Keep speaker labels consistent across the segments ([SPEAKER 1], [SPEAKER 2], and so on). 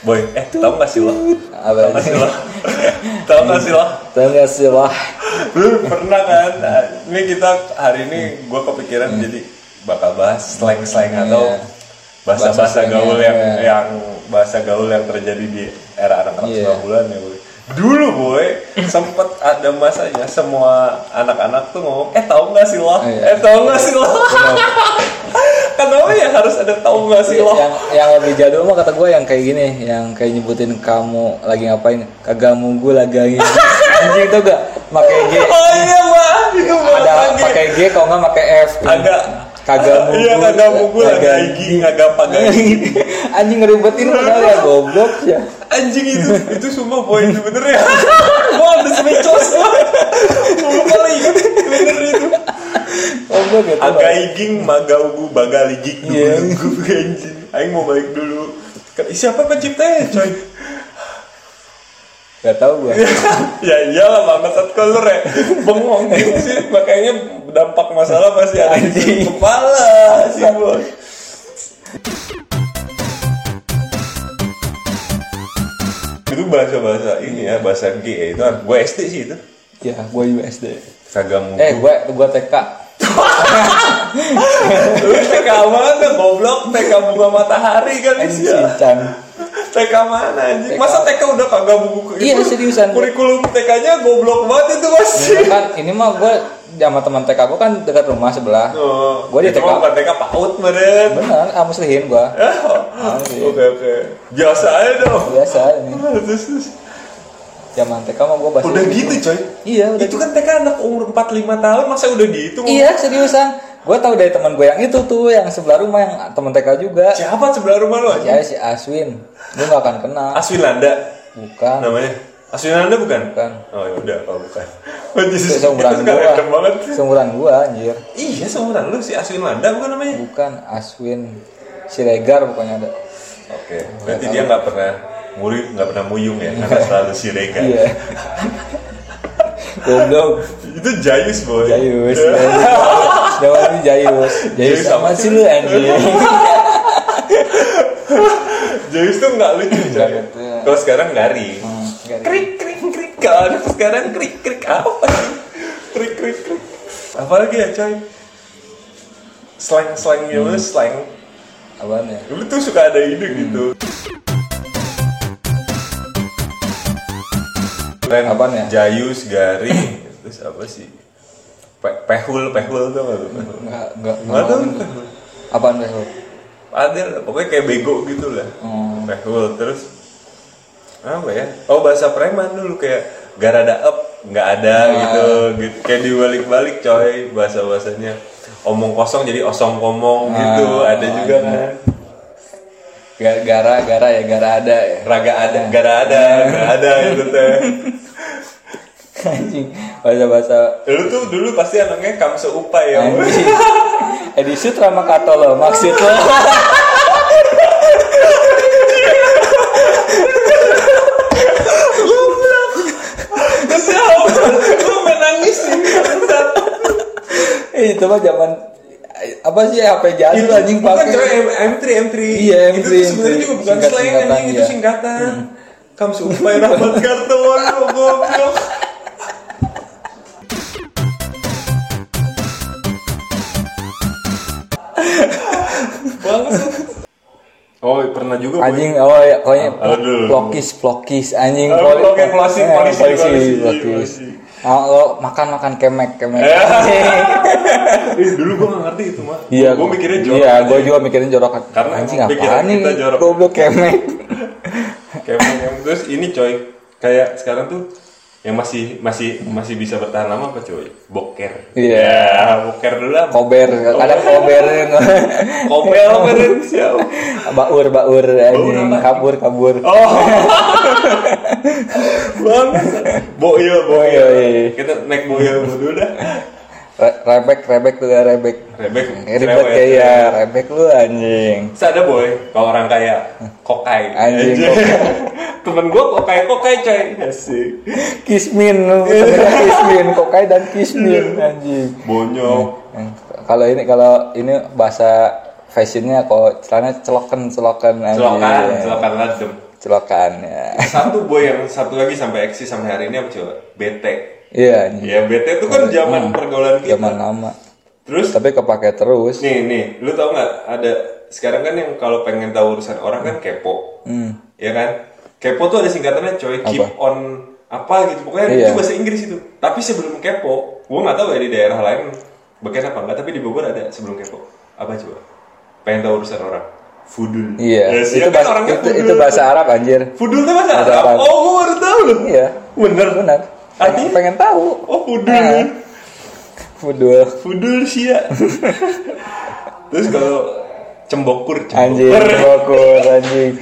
[SPEAKER 1] Boy, eh tau gak sih lo? Tau
[SPEAKER 2] Apa ya,
[SPEAKER 1] gak sih
[SPEAKER 2] ini?
[SPEAKER 1] lo? Tau gak sih lo?
[SPEAKER 2] Tahu nggak sih lah?
[SPEAKER 1] Lu pernah kan? Nah, Ini kita hari ini gue kepikiran jadi bakal bahas slang-slang atau
[SPEAKER 2] Hmm. Iya.
[SPEAKER 1] bahasa-bahasa
[SPEAKER 2] Bahasa-slangnya,
[SPEAKER 1] gaul yang
[SPEAKER 2] iya.
[SPEAKER 1] yang bahasa gaul yang terjadi di era anak-anak
[SPEAKER 2] Iya.
[SPEAKER 1] 90-an ya, Boy. Dulu boy sempet ada masanya semua anak-anak tuh ngomong eh tau gak sih lo?
[SPEAKER 2] Iya.
[SPEAKER 1] Eh tau gak sih lo? Kenapa ya harus ada tau gak sih lo?
[SPEAKER 2] Yang yang lebih jadul mah kata gue yang kayak gini, yang kayak nyebutin kamu lagi ngapain, kagak munggu lagi. Anjing tau gak? Pakai G,
[SPEAKER 1] Oh iya mah, itu mah
[SPEAKER 2] ada ya?
[SPEAKER 1] lagi.
[SPEAKER 2] pakai G, kalau nggak pakai F.
[SPEAKER 1] agak
[SPEAKER 2] kagak munggu.
[SPEAKER 1] iya kagak munggu agak igi agak pagai
[SPEAKER 2] Anjing ngeribetin kenal ya goblok ya.
[SPEAKER 1] anjing itu itu semua boy itu bener ya wah ada semicos Gua lupa lagi bener itu
[SPEAKER 2] Goblok gitu.
[SPEAKER 1] agak iging maga ugu baga ligik
[SPEAKER 2] Iya.
[SPEAKER 1] dulu Gua anjing aing mau balik dulu Kan, siapa penciptanya coy
[SPEAKER 2] Gak tau gue.
[SPEAKER 1] ya iyalah bangsat kolor ya bengong gitu sih makanya dampak masalah pasti ada di
[SPEAKER 2] Anjing.
[SPEAKER 1] kepala sih boy itu bahasa bahasa ini ya bahasa G ya itu gue SD sih itu
[SPEAKER 2] Ya, gue USD.
[SPEAKER 1] kagak mungkin
[SPEAKER 2] Eh, gue gue TK.
[SPEAKER 1] lu TK mana goblok TK bunga matahari kan sih
[SPEAKER 2] Anjing Chan.
[SPEAKER 1] TK mana anjing masa TK udah kagak buku
[SPEAKER 2] Iya, seriusan.
[SPEAKER 1] kurikulum TK nya goblok banget itu masih
[SPEAKER 2] Kan ini mah gue sama teman TK gue kan dekat rumah sebelah.
[SPEAKER 1] Oh,
[SPEAKER 2] Gua di
[SPEAKER 1] itu
[SPEAKER 2] TK.
[SPEAKER 1] mah bukan TK PAUD meren
[SPEAKER 2] Bener, ah muslihin gue.
[SPEAKER 1] Oh, Oke oke. Biasa aja dong.
[SPEAKER 2] Biasa ini.
[SPEAKER 1] Terus, terus.
[SPEAKER 2] Zaman TK mah gue bahasa.
[SPEAKER 1] Udah gitu coy.
[SPEAKER 2] Iya, udah
[SPEAKER 1] Itu kan TK anak umur 45 tahun masa udah gitu.
[SPEAKER 2] Iya seriusan, gue tahu dari teman gue yang itu tuh yang sebelah rumah yang teman TK juga.
[SPEAKER 1] Siapa sebelah rumah lo?
[SPEAKER 2] Si Ais, si Aswin, lu gak akan kenal.
[SPEAKER 1] Aswin Landa
[SPEAKER 2] Bukan.
[SPEAKER 1] namanya. Aswin Landa bukan?
[SPEAKER 2] Iya. Bukan.
[SPEAKER 1] Oh ya udah kalau bukan. Oh, Jesus, itu
[SPEAKER 2] Seumuran
[SPEAKER 1] kan
[SPEAKER 2] gua.
[SPEAKER 1] random banget.
[SPEAKER 2] Seumuran gua anjir.
[SPEAKER 1] Iya seumuran lu si Aswin Landa bukan namanya?
[SPEAKER 2] Bukan Aswin Siregar pokoknya ada.
[SPEAKER 1] Oke. Berarti dia nggak pernah murid nggak pernah muyung ya karena selalu siregar.
[SPEAKER 2] Iya. Goblok.
[SPEAKER 1] Itu jayus boy.
[SPEAKER 2] Jayus.
[SPEAKER 1] Ya.
[SPEAKER 2] Jayus. Jangan ini Jayus. Jayus
[SPEAKER 1] Jayus
[SPEAKER 2] sama
[SPEAKER 1] apa
[SPEAKER 2] sih
[SPEAKER 1] sih?
[SPEAKER 2] lu anjir.
[SPEAKER 1] Jayus tuh nggak lucu coy.
[SPEAKER 2] lucu. Hmm,
[SPEAKER 1] Kalau sekarang garing.
[SPEAKER 2] Nggak ada.
[SPEAKER 1] krik krik krik kalau anak sekarang krik krik apa sih? krik krik krik apalagi ya coy slang slang
[SPEAKER 2] Hmm.
[SPEAKER 1] gimana slang
[SPEAKER 2] Apaan ya?
[SPEAKER 1] dulu tuh suka ada
[SPEAKER 2] Hmm.
[SPEAKER 1] ide gitu Slang
[SPEAKER 2] Apaan ya?
[SPEAKER 1] jayus garing terus apa sih Pe- pehul pehul tuh nggak tuh pehul
[SPEAKER 2] Nggak nggak
[SPEAKER 1] nggak tuh
[SPEAKER 2] ngalamin gua. Apaan deh lu?
[SPEAKER 1] ada lah, pokoknya kayak bego gitu lah
[SPEAKER 2] Hmm.
[SPEAKER 1] pehul terus apa ya oh bahasa preman dulu kayak garada up nggak ada
[SPEAKER 2] Ah.
[SPEAKER 1] gitu gitu kayak dibalik-balik coy bahasa bahasanya omong kosong jadi osong komong gitu
[SPEAKER 2] Ah,
[SPEAKER 1] ada juga
[SPEAKER 2] ada.
[SPEAKER 1] kan
[SPEAKER 2] Gara- Gara gara ya gara ada ya.
[SPEAKER 1] raga ada gara ada
[SPEAKER 2] Ah.
[SPEAKER 1] nggak ada gitu teh
[SPEAKER 2] Anjing. Bahasa-bahasa
[SPEAKER 1] lu tuh dulu pasti anaknya kamse upa ya
[SPEAKER 2] Anjing. Edi Sutra sama Eh, Kato lo maksud lo.
[SPEAKER 1] terus ya lu menangis sih bentar.
[SPEAKER 2] Eh, itu mah zaman apa sih HP jadul anjing
[SPEAKER 1] bukan
[SPEAKER 2] pakai.
[SPEAKER 1] coy M- M3 M3
[SPEAKER 2] Iya,
[SPEAKER 1] itu tuh
[SPEAKER 2] M3,
[SPEAKER 1] sebenarnya
[SPEAKER 2] M3.
[SPEAKER 1] juga bukan
[SPEAKER 2] Singkat-
[SPEAKER 1] slang
[SPEAKER 2] singkatan,
[SPEAKER 1] anjing itu
[SPEAKER 2] iya.
[SPEAKER 1] singkatan kamse upa ya rahmat kartawan lu goblok Bangsat. Oh, pernah juga. Boy.
[SPEAKER 2] Anjing oh ya pokoknya
[SPEAKER 1] Aduh.
[SPEAKER 2] pl- plokis plokis anjing
[SPEAKER 1] Oh,
[SPEAKER 2] poli-
[SPEAKER 1] plokis, polisi,
[SPEAKER 2] eh,
[SPEAKER 1] polisi,
[SPEAKER 2] polisi,
[SPEAKER 1] polisi,
[SPEAKER 2] plokis.
[SPEAKER 1] polisi.
[SPEAKER 2] Ah, lo makan makan kemek kemek.
[SPEAKER 1] Eh. Eh, dulu gua gak ngerti itu, mah.
[SPEAKER 2] Iya.
[SPEAKER 1] Gua mikirnya jorok.
[SPEAKER 2] Iya,
[SPEAKER 1] aja.
[SPEAKER 2] gua juga mikirin jorok.
[SPEAKER 1] Karena
[SPEAKER 2] anjing
[SPEAKER 1] emang pikiran
[SPEAKER 2] apaan nih?
[SPEAKER 1] kita jorok.
[SPEAKER 2] Goblok kemek.
[SPEAKER 1] Kayak kayak- terus ini coy, kayak sekarang tuh yang masih masih masih bisa bertahan lama apa coy? Boker.
[SPEAKER 2] Iya.
[SPEAKER 1] Ya, boker dulu lah.
[SPEAKER 2] Kober, kadang kober.
[SPEAKER 1] Kopel meren siapa?
[SPEAKER 2] baur baur anjing
[SPEAKER 1] apa?
[SPEAKER 2] kabur kabur.
[SPEAKER 1] Oh. Bang. Boil,
[SPEAKER 2] Iya,
[SPEAKER 1] boil.
[SPEAKER 2] Boil.
[SPEAKER 1] iya, Kita naik boil dulu dah.
[SPEAKER 2] Re- rebek rebek tuh ya rebek
[SPEAKER 1] Rebek.
[SPEAKER 2] ribet
[SPEAKER 1] cerewet.
[SPEAKER 2] kayak ya rebek lu anjing
[SPEAKER 1] Terus ada boy, kalau orang kaya kokai.
[SPEAKER 2] Anjing,
[SPEAKER 1] Anjing. Temen gua kokai kokai coy. Asik.
[SPEAKER 2] kismin lu temennya kismin kokai dan kismin anjing
[SPEAKER 1] Bonyok.
[SPEAKER 2] Iya. kalau ini kalau ini bahasa fashionnya kok celana celokan celokan anjing iya. ya.
[SPEAKER 1] Selokan, selokan adem.
[SPEAKER 2] celakaannya
[SPEAKER 1] Satu boy yang satu lagi sampai eksis sampai hari ini apa coba? BT.
[SPEAKER 2] iya anjing.
[SPEAKER 1] Ya BT itu kan zaman pergaulan kita.
[SPEAKER 2] Hmm. zaman lama
[SPEAKER 1] Terus
[SPEAKER 2] tapi kepake terus
[SPEAKER 1] nih nih, lu tau nggak ada sekarang kan yang kalau pengen tahu urusan orang kan kepo.
[SPEAKER 2] Hmm.
[SPEAKER 1] Ya kan? Kepo tuh ada singkatannya coy, keep on apa gitu. Pokoknya
[SPEAKER 2] Iya.
[SPEAKER 1] itu bahasa Inggris itu. Tapi sebelum kepo, gua nggak tahu ya di daerah lain bagian apa enggak, tapi di Bogor ada sebelum kepo. Apa coba? Pengen tahu urusan orang. Fudul.
[SPEAKER 2] iya
[SPEAKER 1] Ya, sih,
[SPEAKER 2] itu
[SPEAKER 1] kan
[SPEAKER 2] bahasa
[SPEAKER 1] orangnya
[SPEAKER 2] itu,
[SPEAKER 1] fudul.
[SPEAKER 2] itu bahasa Arab anjir
[SPEAKER 1] Fudul tuh bahasa
[SPEAKER 2] Bahasa
[SPEAKER 1] Arab.
[SPEAKER 2] Arab.
[SPEAKER 1] Oh, gua baru tahu loh.
[SPEAKER 2] iya
[SPEAKER 1] Bener.
[SPEAKER 2] benar pengen,
[SPEAKER 1] Artinya?
[SPEAKER 2] pengen tahu
[SPEAKER 1] Oh, fudul.
[SPEAKER 2] Nah. Fudul
[SPEAKER 1] Fudul sih ya. Terus kalau cembokur,
[SPEAKER 2] anjing bokur anjing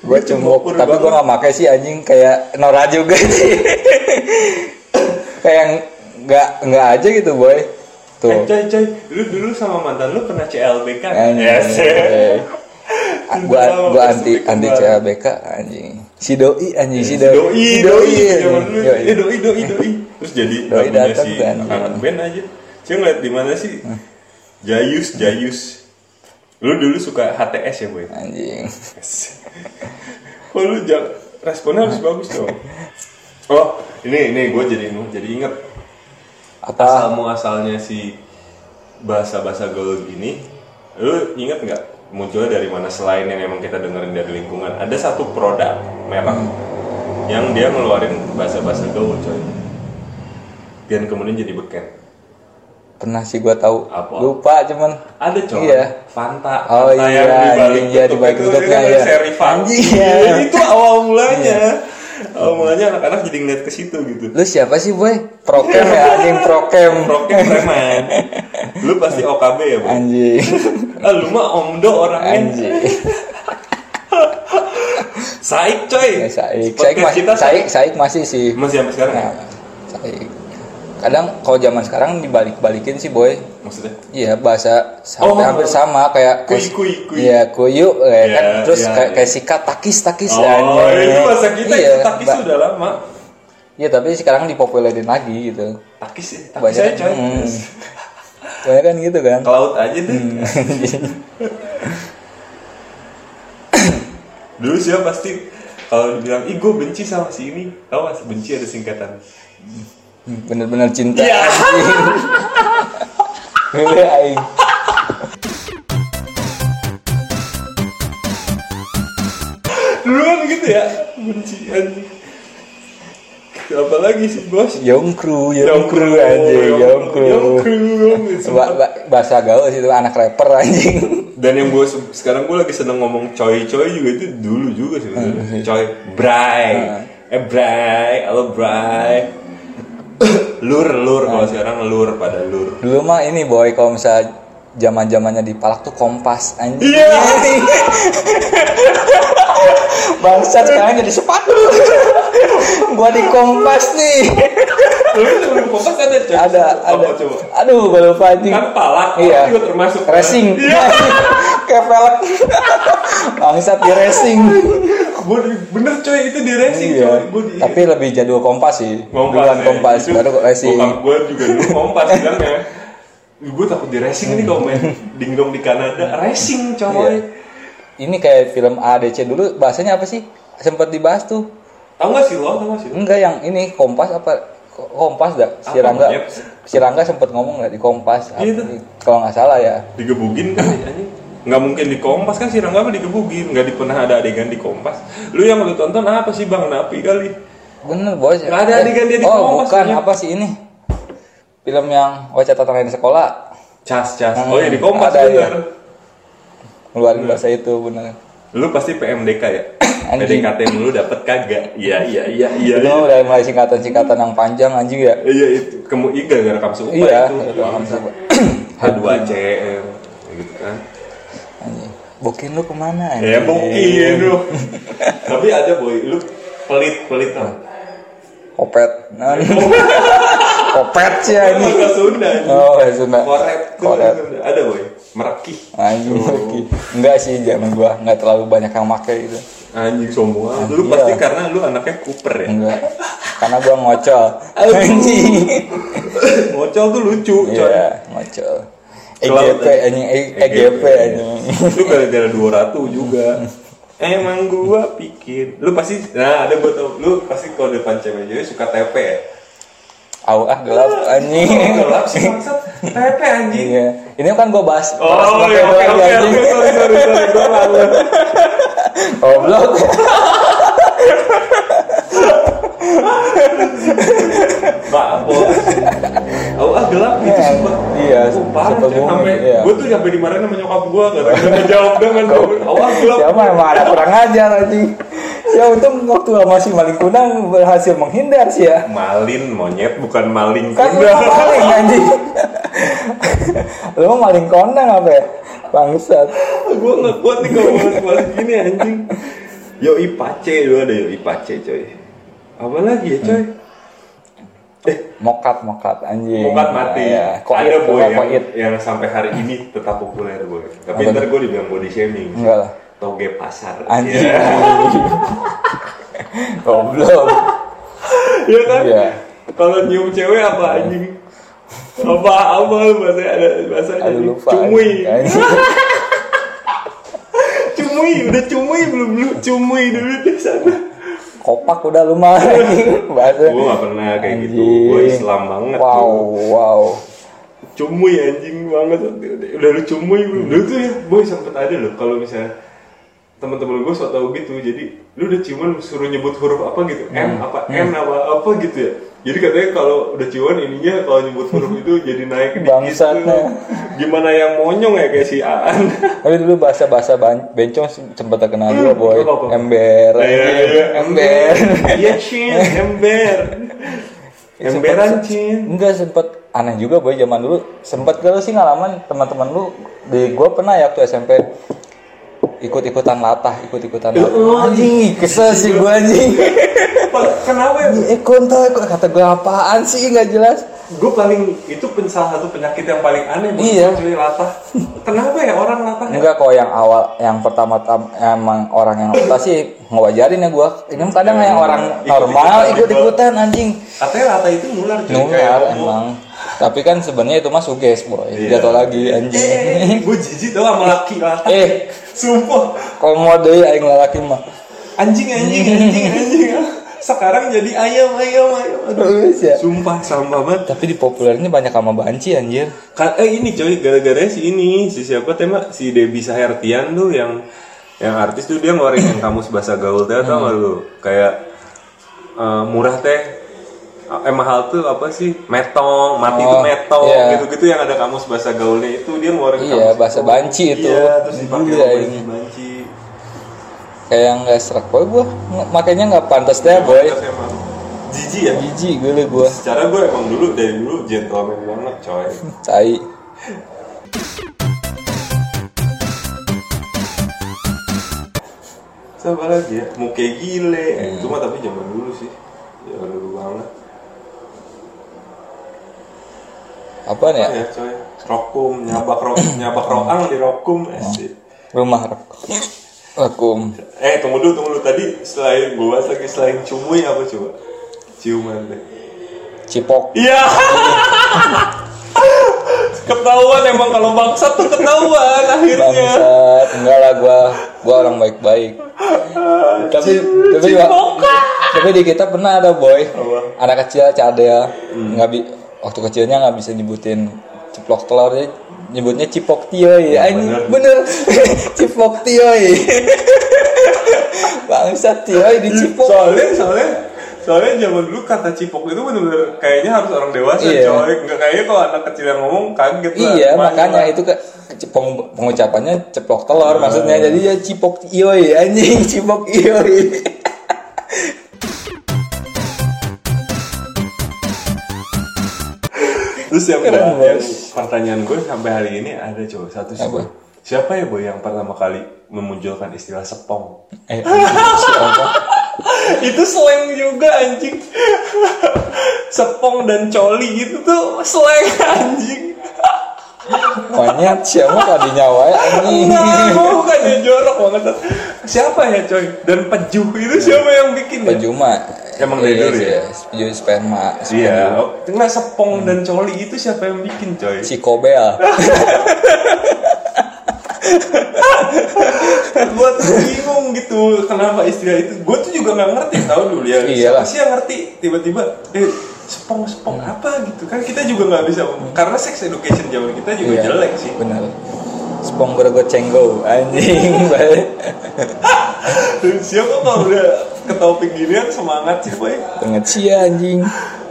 [SPEAKER 2] gue
[SPEAKER 1] Itu bokur
[SPEAKER 2] cembokur tapi
[SPEAKER 1] banget.
[SPEAKER 2] gue gak pakai sih anjing kayak Nora juga sih kayak nggak nggak aja gitu boy
[SPEAKER 1] Eh,
[SPEAKER 2] tuh
[SPEAKER 1] coy, coy, lu dulu sama mantan lu pernah CLBK kan?
[SPEAKER 2] anjing
[SPEAKER 1] Yes.
[SPEAKER 2] Ah, gua gua anti anti CLBK anjing si doi anjing si doi
[SPEAKER 1] Doi,
[SPEAKER 2] si
[SPEAKER 1] doi, zaman
[SPEAKER 2] anjing.
[SPEAKER 1] dulu.
[SPEAKER 2] Yoi.
[SPEAKER 1] Eh, doi, doi, doi. Terus jadi
[SPEAKER 2] Doi
[SPEAKER 1] lagunya
[SPEAKER 2] datang
[SPEAKER 1] si
[SPEAKER 2] tuh, anjing. Hmm.
[SPEAKER 1] anak band aja. Saya ngeliat di mana sih? Jayus, Jayus. Lu dulu suka HTS ya, boy?
[SPEAKER 2] anjing
[SPEAKER 1] Yes. Kok lu jang- responnya harus bagus dong. Oh, ini ini gue jadi jadi inget
[SPEAKER 2] apa Ah.
[SPEAKER 1] asal muasalnya si bahasa bahasa gaul ini. Lu inget nggak munculnya dari mana selain yang emang kita dengerin dari lingkungan? Ada satu produk merek
[SPEAKER 2] Hmm.
[SPEAKER 1] yang dia ngeluarin bahasa bahasa gaul coy. Dan kemudian jadi beken.
[SPEAKER 2] pernah sih gua tahu
[SPEAKER 1] Apa?
[SPEAKER 2] lupa cuman
[SPEAKER 1] Ada coy.
[SPEAKER 2] Iya.
[SPEAKER 1] Fanta.
[SPEAKER 2] Oh
[SPEAKER 1] Fanta yang
[SPEAKER 2] iya,
[SPEAKER 1] dibalik
[SPEAKER 2] iya,
[SPEAKER 1] tutup
[SPEAKER 2] dibalik
[SPEAKER 1] itu,
[SPEAKER 2] tutup,
[SPEAKER 1] itu kan
[SPEAKER 2] iya.
[SPEAKER 1] serifan.
[SPEAKER 2] Anjing, iya.
[SPEAKER 1] Iya, Itu awal mulanya. awal mulanya anak-anak jadi ngeliat ke situ gitu.
[SPEAKER 2] lu siapa sih boy prokem ya anjing prokem
[SPEAKER 1] Roket preman. Lu pasti OKB ya, Bu.
[SPEAKER 2] anjing
[SPEAKER 1] Ah, lu mah omdo orangnya.
[SPEAKER 2] anjing
[SPEAKER 1] Saik coy.
[SPEAKER 2] Ya, Saik.
[SPEAKER 1] Podcast
[SPEAKER 2] Saik, masih,
[SPEAKER 1] kita
[SPEAKER 2] Saik, Saik masih sih.
[SPEAKER 1] masih sampai sekarang. ya?
[SPEAKER 2] Nah, Saik. Kadang kalau zaman sekarang dibalik-balikin sih boy.
[SPEAKER 1] Maksudnya
[SPEAKER 2] Iya bahasa
[SPEAKER 1] Oh.
[SPEAKER 2] hampir, hampir sama kayak
[SPEAKER 1] Kui, kui, kui.
[SPEAKER 2] Iya kuyu eh,
[SPEAKER 1] Iya,
[SPEAKER 2] kan terus
[SPEAKER 1] iya,
[SPEAKER 2] kayak,
[SPEAKER 1] iya.
[SPEAKER 2] kayak sikat takis takis
[SPEAKER 1] Oh, itu bahasa kita
[SPEAKER 2] Iya,
[SPEAKER 1] itu takis
[SPEAKER 2] ba-
[SPEAKER 1] sudah lama.
[SPEAKER 2] Iya tapi sekarang dipopulerin lagi gitu.
[SPEAKER 1] Takis ya, takis
[SPEAKER 2] Banyak
[SPEAKER 1] aja coy.
[SPEAKER 2] hmm. Banyak kan gitu kan.
[SPEAKER 1] Ke laut aja deh. Dulu sih ya pasti kalau dibilang, ih gue benci sama si ini. Tau mas, benci ada singkatan.
[SPEAKER 2] Bener-bener cinta.
[SPEAKER 1] Iya.
[SPEAKER 2] anjing. Gila, aing.
[SPEAKER 1] Dulu kan gitu ya, benci anjing. Apalagi sih bos?
[SPEAKER 2] Yongkru, yongkru anjing, yongkru.
[SPEAKER 1] Yongkru, yongkru.
[SPEAKER 2] Ba- ba- bahasa gaul sih itu anak rapper anjing.
[SPEAKER 1] Dan yang gue se- sekarang gue lagi seneng ngomong coy coy juga itu dulu juga
[SPEAKER 2] Hmm.
[SPEAKER 1] sebenarnya. Coy, bray, eh bray, halo bray. lur lur kalau
[SPEAKER 2] Hmm.
[SPEAKER 1] sekarang lur pada lur.
[SPEAKER 2] Dulu mah ini boy kalau misalnya zaman zamannya di Palak tuh kompas anjing.
[SPEAKER 1] Iya.
[SPEAKER 2] Bangsat sekarang jadi sepatu. gua di kompas nih.
[SPEAKER 1] Lu sebelum kompas ada coy.
[SPEAKER 2] Ada
[SPEAKER 1] Apa
[SPEAKER 2] ada.
[SPEAKER 1] coba?
[SPEAKER 2] Aduh, gua lupa anjing.
[SPEAKER 1] Kan palak,
[SPEAKER 2] Iya.
[SPEAKER 1] juga termasuk. Iya,
[SPEAKER 2] Racing. Kayak pelek. Bangsat di racing.
[SPEAKER 1] Gue bener coy itu di racing
[SPEAKER 2] Iya.
[SPEAKER 1] coy. Gue di
[SPEAKER 2] Tapi lebih jadwal kompas sih. Duluan
[SPEAKER 1] ya.
[SPEAKER 2] kompas
[SPEAKER 1] Itu
[SPEAKER 2] baru racing.
[SPEAKER 1] Bokap gue juga dulu kompas bilangnya. Gue takut di racing nih kalau main dingdong di Kanada. Racing coy.
[SPEAKER 2] Hmm. Iya. Ini kayak film ADC dulu bahasanya apa sih? Sempat dibahas tuh.
[SPEAKER 1] Tahu gak sih lo? Tahu gak sih lo?
[SPEAKER 2] Enggak yang ini Kompas apa Ko- Kompas dah si
[SPEAKER 1] Apa,
[SPEAKER 2] Rangga.
[SPEAKER 1] Monyet?
[SPEAKER 2] Si Rangga sempat ngomong nggak di Kompas? Apa
[SPEAKER 1] Gitu.
[SPEAKER 2] sih? Kalau nggak salah ya.
[SPEAKER 1] digebugin kan anjing nggak mungkin di kompas kan si Rangga mah digebugin nggak di- pernah ada adegan di kompas lu yang lu tonton apa sih bang Napi kali
[SPEAKER 2] Bener bos.
[SPEAKER 1] Nggak ada adegan dia di Kompas, iya.
[SPEAKER 2] Oh bukan
[SPEAKER 1] anjing.
[SPEAKER 2] apa sih ini? Film yang oh catatan lain sekolah
[SPEAKER 1] cas cas
[SPEAKER 2] Hmm,
[SPEAKER 1] oh ya di kompas
[SPEAKER 2] ada,
[SPEAKER 1] bener.
[SPEAKER 2] iya. ngeluarin
[SPEAKER 1] Iya.
[SPEAKER 2] bahasa itu bener.
[SPEAKER 1] lu pasti PMDK ya
[SPEAKER 2] Anjing.
[SPEAKER 1] PDKT lu dapet kagak iya iya iya iya
[SPEAKER 2] Itu
[SPEAKER 1] iya
[SPEAKER 2] Oh, udah mulai singkatan-singkatan yang panjang anjing ya.
[SPEAKER 1] iya itu kamu iya gara-gara kamu suka
[SPEAKER 2] Iya.
[SPEAKER 1] itu H2C gitu kan
[SPEAKER 2] Anjing. Bokin lu kemana?
[SPEAKER 1] ya
[SPEAKER 2] anjing?
[SPEAKER 1] mungkin lu tapi ada boy lu pelit pelit tau
[SPEAKER 2] Kopet.
[SPEAKER 1] Ya,
[SPEAKER 2] Nah, Kopet sih anjing.
[SPEAKER 1] Bahasa Sunda anjing.
[SPEAKER 2] Oh, bahasa Sunda.
[SPEAKER 1] korek tuh
[SPEAKER 2] Korek.
[SPEAKER 1] ada boy merekih
[SPEAKER 2] Anjing, Ki. enggak sih zaman gua enggak terlalu banyak yang make gitu. itu.
[SPEAKER 1] Anjing sombong amat. Lu
[SPEAKER 2] Iya.
[SPEAKER 1] pasti karena lu anaknya Cooper ya.
[SPEAKER 2] Enggak. Karena gua ngocol. Anjing.
[SPEAKER 1] Ngocol tuh lucu, coy. E
[SPEAKER 2] Iya, ngocol. E
[SPEAKER 1] Selalu
[SPEAKER 2] EGP
[SPEAKER 1] tadi. iya.
[SPEAKER 2] anjing, E- EGP anjing.
[SPEAKER 1] Lu gara-gara dua ratu juga. Emang gua pikir Lu pasti Nah ada gua tau Lu pasti kalau depan cewek cewek suka TP ya
[SPEAKER 2] Au ah gelap anjing.
[SPEAKER 1] Oh, Gelap sih maksud TP anjing
[SPEAKER 2] Iya. Ini kan gua bahas bahas
[SPEAKER 1] Oh
[SPEAKER 2] pakai
[SPEAKER 1] iya oke oke
[SPEAKER 2] doang, anjing.
[SPEAKER 1] oke Sorry sorry sorry Gua malu
[SPEAKER 2] Goblok.
[SPEAKER 1] Maaf bos Oh ah gelap gitu sumpah
[SPEAKER 2] Iya,
[SPEAKER 1] Oh, parah
[SPEAKER 2] sumpah
[SPEAKER 1] Cek.
[SPEAKER 2] bohong,
[SPEAKER 1] sampai
[SPEAKER 2] iya.
[SPEAKER 1] Gua tuh sampai dimarahin sama nyokap gua Gak ngejawab dengan Oh ah gelap
[SPEAKER 2] Siapa Ya, emang ada kurang ajar anjing. Ya untung waktu masih maling kunang berhasil menghindar sih ya.
[SPEAKER 1] Malin monyet bukan maling
[SPEAKER 2] Kan lu mah maling anjing. lu mah maling kondang apa ya? Bangsat.
[SPEAKER 1] gue nggak kuat nih kalau bahas-bahas gini anjing Yoi Pace dulu ada Yoi Pace coy apa lagi ya coy
[SPEAKER 2] Mokat mokat anjing.
[SPEAKER 1] Mokat Hmm. mati
[SPEAKER 2] Ya, koit,
[SPEAKER 1] ada boy yang,
[SPEAKER 2] koit.
[SPEAKER 1] yang sampai hari ini tetap populer boy tapi
[SPEAKER 2] Apa
[SPEAKER 1] ntar gue dibilang body shaming
[SPEAKER 2] Enggak lah.
[SPEAKER 1] toge pasar
[SPEAKER 2] Anjing.
[SPEAKER 1] ya,
[SPEAKER 2] Goblok.
[SPEAKER 1] Iya kan
[SPEAKER 2] Iya.
[SPEAKER 1] kalau nyium cewek apa anjing apa apa bahasanya ada bahasanya
[SPEAKER 2] Aduh lupa.
[SPEAKER 1] cumui
[SPEAKER 2] anjing.
[SPEAKER 1] cumui udah cumui belum belum cumui dulu di sana
[SPEAKER 2] Kopak udah lu mah anjing. Bahasa.
[SPEAKER 1] gue gak pernah kayak gitu gue
[SPEAKER 2] Anjing.
[SPEAKER 1] Islam banget
[SPEAKER 2] Wow,
[SPEAKER 1] bro.
[SPEAKER 2] wow.
[SPEAKER 1] cumuy anjing banget udah lu cumuy lu Dulu tuh ya boy sempet ada loh kalau misalnya teman-teman gue sok tau gitu jadi lu udah ciuman suruh nyebut huruf apa gitu m apa n apa apa gitu ya jadi katanya kalau udah ciuman ininya kalau nyebut huruf itu jadi naik dikit
[SPEAKER 2] Bangsatnya.
[SPEAKER 1] tuh. gimana yang monyong ya kayak si Aan
[SPEAKER 2] Tapi dulu bahasa-bahasa ban- bencong sempat
[SPEAKER 1] Hmm,
[SPEAKER 2] terkenal juga boy.
[SPEAKER 1] nggak apa-apa.
[SPEAKER 2] Ember, anjing. iya, ember.
[SPEAKER 1] iya cin ember emberan cin
[SPEAKER 2] Enggak sempet aneh juga boy zaman dulu sempet kalau sih ngalaman teman-teman lu di gua pernah ya waktu SMP ikut-ikutan latah, ikut-ikutan
[SPEAKER 1] Iya,
[SPEAKER 2] latah. Anjing, kesel sih gua anjing.
[SPEAKER 1] kenapa ya
[SPEAKER 2] Eh kontol kata gua apaan sih nggak jelas.
[SPEAKER 1] gue paling itu pen- salah satu penyakit yang paling aneh buat
[SPEAKER 2] Iya.
[SPEAKER 1] gue, cuy latah kenapa ya orang latah ya?
[SPEAKER 2] Enggak kok yang awal yang pertama tam- emang orang yang latah sih ngewajarin ya gua. Ini kadang yang orang
[SPEAKER 1] Ikut-ikutan
[SPEAKER 2] normal
[SPEAKER 1] juga.
[SPEAKER 2] ikut-ikutan anjing.
[SPEAKER 1] katanya latah itu nular cuy
[SPEAKER 2] Nular emang. Tapi kan sebenarnya itu mah suges boy.
[SPEAKER 1] Iya.
[SPEAKER 2] Jatuh lagi anjing.
[SPEAKER 1] eh gue jijik tau sama laki latah
[SPEAKER 2] Eh.
[SPEAKER 1] sumpah
[SPEAKER 2] Komodo ya aing lalaki mah.
[SPEAKER 1] anjing anjing anjing anjing sekarang jadi ayam ayam ayam Aduh.
[SPEAKER 2] Iya.
[SPEAKER 1] sumpah sama banget
[SPEAKER 2] ya. Tapi di populerinnya banyak sama banci anjir.
[SPEAKER 1] Ka- eh ini coy gara-gara si ini si siapa tema si Debi Sahertian tuh yang yang artis tuh dia ngeluarin yang kamus bahasa gaul teh tau gak lu kayak eh, murah teh eh mahal tuh apa sih metong mati tuh
[SPEAKER 2] Oh,
[SPEAKER 1] metong
[SPEAKER 2] iya.
[SPEAKER 1] gitu-gitu yang ada kamus bahasa gaulnya itu dia ngeluarin kamus
[SPEAKER 2] Iya, bahasa
[SPEAKER 1] itu.
[SPEAKER 2] banci itu.
[SPEAKER 1] iya terus dipakai
[SPEAKER 2] Gila,
[SPEAKER 1] sama
[SPEAKER 2] ini.
[SPEAKER 1] banci- banci
[SPEAKER 2] Kayak nggak serak boy gua. Nge- Makanya nggak pantas deh boy.
[SPEAKER 1] Terus emang jijik ya
[SPEAKER 2] Jijik gue gua.
[SPEAKER 1] secara gue emang dulu dari dulu gentleman banget coy
[SPEAKER 2] Tai.
[SPEAKER 1] Siapa lagi ya? Muke gile. Eh,
[SPEAKER 2] Hmm.
[SPEAKER 1] Cuma tapi zaman dulu sih. Ya dulu banget.
[SPEAKER 2] Apaan
[SPEAKER 1] Ya,
[SPEAKER 2] ya?
[SPEAKER 1] ya coy. Rokum, nyabak rok,
[SPEAKER 2] Hmm.
[SPEAKER 1] nyabak roang di rokum. Eh, asik.
[SPEAKER 2] Rumah rek- rekum.
[SPEAKER 1] Eh tunggu dulu, tunggu dulu. Tadi selain gue bahas lagi selain cumuy apa coba? Ciuman deh.
[SPEAKER 2] Cipok.
[SPEAKER 1] Iya. ketahuan emang kalau bangsat tuh ketahuan akhirnya.
[SPEAKER 2] Bangsat. Enggak lah gua. Gua orang baik-baik. Tapi tapi tapi di kita pernah ada boy. Anak kecil cadel. Nggak bi waktu kecilnya nggak bisa nyebutin ciplok telur dia nyebutnya cipok tioi Anjing, bener, cipok tioi bangsat tioi dicipok
[SPEAKER 1] Soalnya, soalnya, soalnya zaman dulu kata cipok itu bener-bener kayaknya harus orang dewasa
[SPEAKER 2] Iya.
[SPEAKER 1] coy. Nggak kayaknya kalau anak kecil yang ngomong kaget lah.
[SPEAKER 2] Iya,
[SPEAKER 1] Main
[SPEAKER 2] makanya
[SPEAKER 1] lah.
[SPEAKER 2] itu ke, ke- peng- pengucapannya ceplok telur maksudnya. Jadi ya cipok ioi anjing, cipok ioi.
[SPEAKER 1] Terus yang
[SPEAKER 2] Keren
[SPEAKER 1] gua-
[SPEAKER 2] banget.
[SPEAKER 1] yang pertanyaan gue sampai hari ini ada coba satu sih.
[SPEAKER 2] Apa?
[SPEAKER 1] Siapa ya boy yang pertama kali memunculkan istilah sepong?
[SPEAKER 2] Eh, anjing, siapa?
[SPEAKER 1] itu slang juga anjing. sepong dan coli itu tuh slang anjing.
[SPEAKER 2] Konyet siapa tadi nyawa ya anjing.
[SPEAKER 1] Nah, bukan ya jorok banget. Siapa ya coy? Dan pejuh itu siapa yang bikin ya?
[SPEAKER 2] Pejuma.
[SPEAKER 1] Emang dari dulu ya?
[SPEAKER 2] Iya, Peju sperma.
[SPEAKER 1] Iya, nah sepong dan coli itu siapa yang bikin coy?
[SPEAKER 2] Cikobel.
[SPEAKER 1] gue tuh bingung gitu istilah itu gue tuh juga nggak ngerti tahu dulu ya
[SPEAKER 2] Iyalah. Hmm.
[SPEAKER 1] siapa sih yang ngerti tiba-tiba eh sepong sepong apa gitu kan kita juga nggak bisa karena sex education zaman kita juga
[SPEAKER 2] Iya.
[SPEAKER 1] jelek sih
[SPEAKER 2] Benar. Spong gue cenggo anjing baik.
[SPEAKER 1] siapa kalau udah ke topik ginian semangat sih boy
[SPEAKER 2] Banget sih ya, anjing.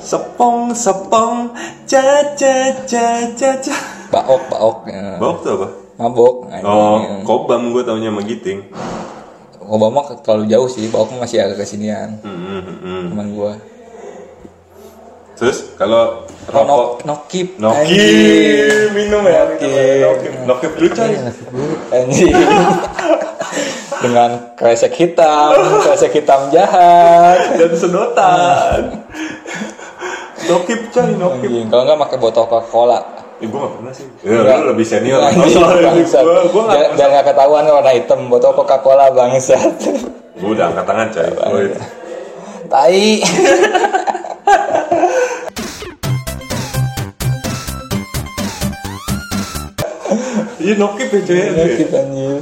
[SPEAKER 1] sepong sepong ca ca ca ca ca
[SPEAKER 2] Baok baok. ya.
[SPEAKER 1] Bok tuh apa? Oh,
[SPEAKER 2] Mabok anjing.
[SPEAKER 1] kobam gue taunya sama Giting.
[SPEAKER 2] Obama terlalu jauh sih, baok masih agak kesinian.
[SPEAKER 1] Hmm, hmm, hmm, hmm.
[SPEAKER 2] Teman gua.
[SPEAKER 1] Terus kalau
[SPEAKER 2] Oh, no,
[SPEAKER 1] rokok
[SPEAKER 2] no keep. Anjing.
[SPEAKER 1] Noki minum ya
[SPEAKER 2] Nokip.
[SPEAKER 1] Nokip Nokip dulu coy
[SPEAKER 2] Iya. Anjing. Dengan kresek hitam, kresek hitam jahat.
[SPEAKER 1] Dan sedotan Nokip coy Nokip
[SPEAKER 2] Anjing. Kalau nggak pakai botol Coca-Cola.
[SPEAKER 1] Eh gue gak pernah sih Ya
[SPEAKER 2] Nggak.
[SPEAKER 1] lu lebih senior
[SPEAKER 2] Anjing, bangsat.
[SPEAKER 1] Gue gue gak
[SPEAKER 2] Biar- Biar nggak ketahuan warna hitam, botol Coca-Cola bangsat.
[SPEAKER 1] Gue udah angkat tangan coy Gua itu.
[SPEAKER 2] Tai.
[SPEAKER 1] Iya Nokip ya coy
[SPEAKER 2] Sakit, Gitu, anjing.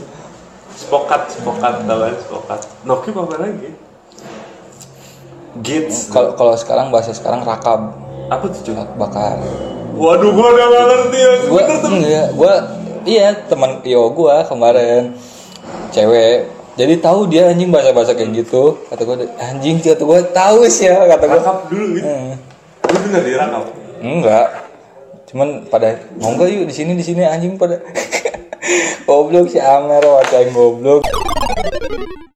[SPEAKER 1] Spokat Spokat tau kan Spokat Nokip apa lagi? Gates
[SPEAKER 2] Kalau kalau sekarang bahasa sekarang rakab,
[SPEAKER 1] Apa tuh coy?
[SPEAKER 2] bak- bakar.
[SPEAKER 1] Waduh gue udah gak ngerti ya
[SPEAKER 2] Gua enggak, gua iya teman Tio gua kemarin cewek. Jadi tahu dia anjing bahasa-bahasa kayak gitu. Kata gua anjing kata gua tahu sih ya kata gua.
[SPEAKER 1] Rakap dulu gitu
[SPEAKER 2] Eh,
[SPEAKER 1] Lu bener ya, di rakap
[SPEAKER 2] Enggak. Cuman pada mau enggak yuk di sini di sini anjing pada goblok si Amer wacang goblok.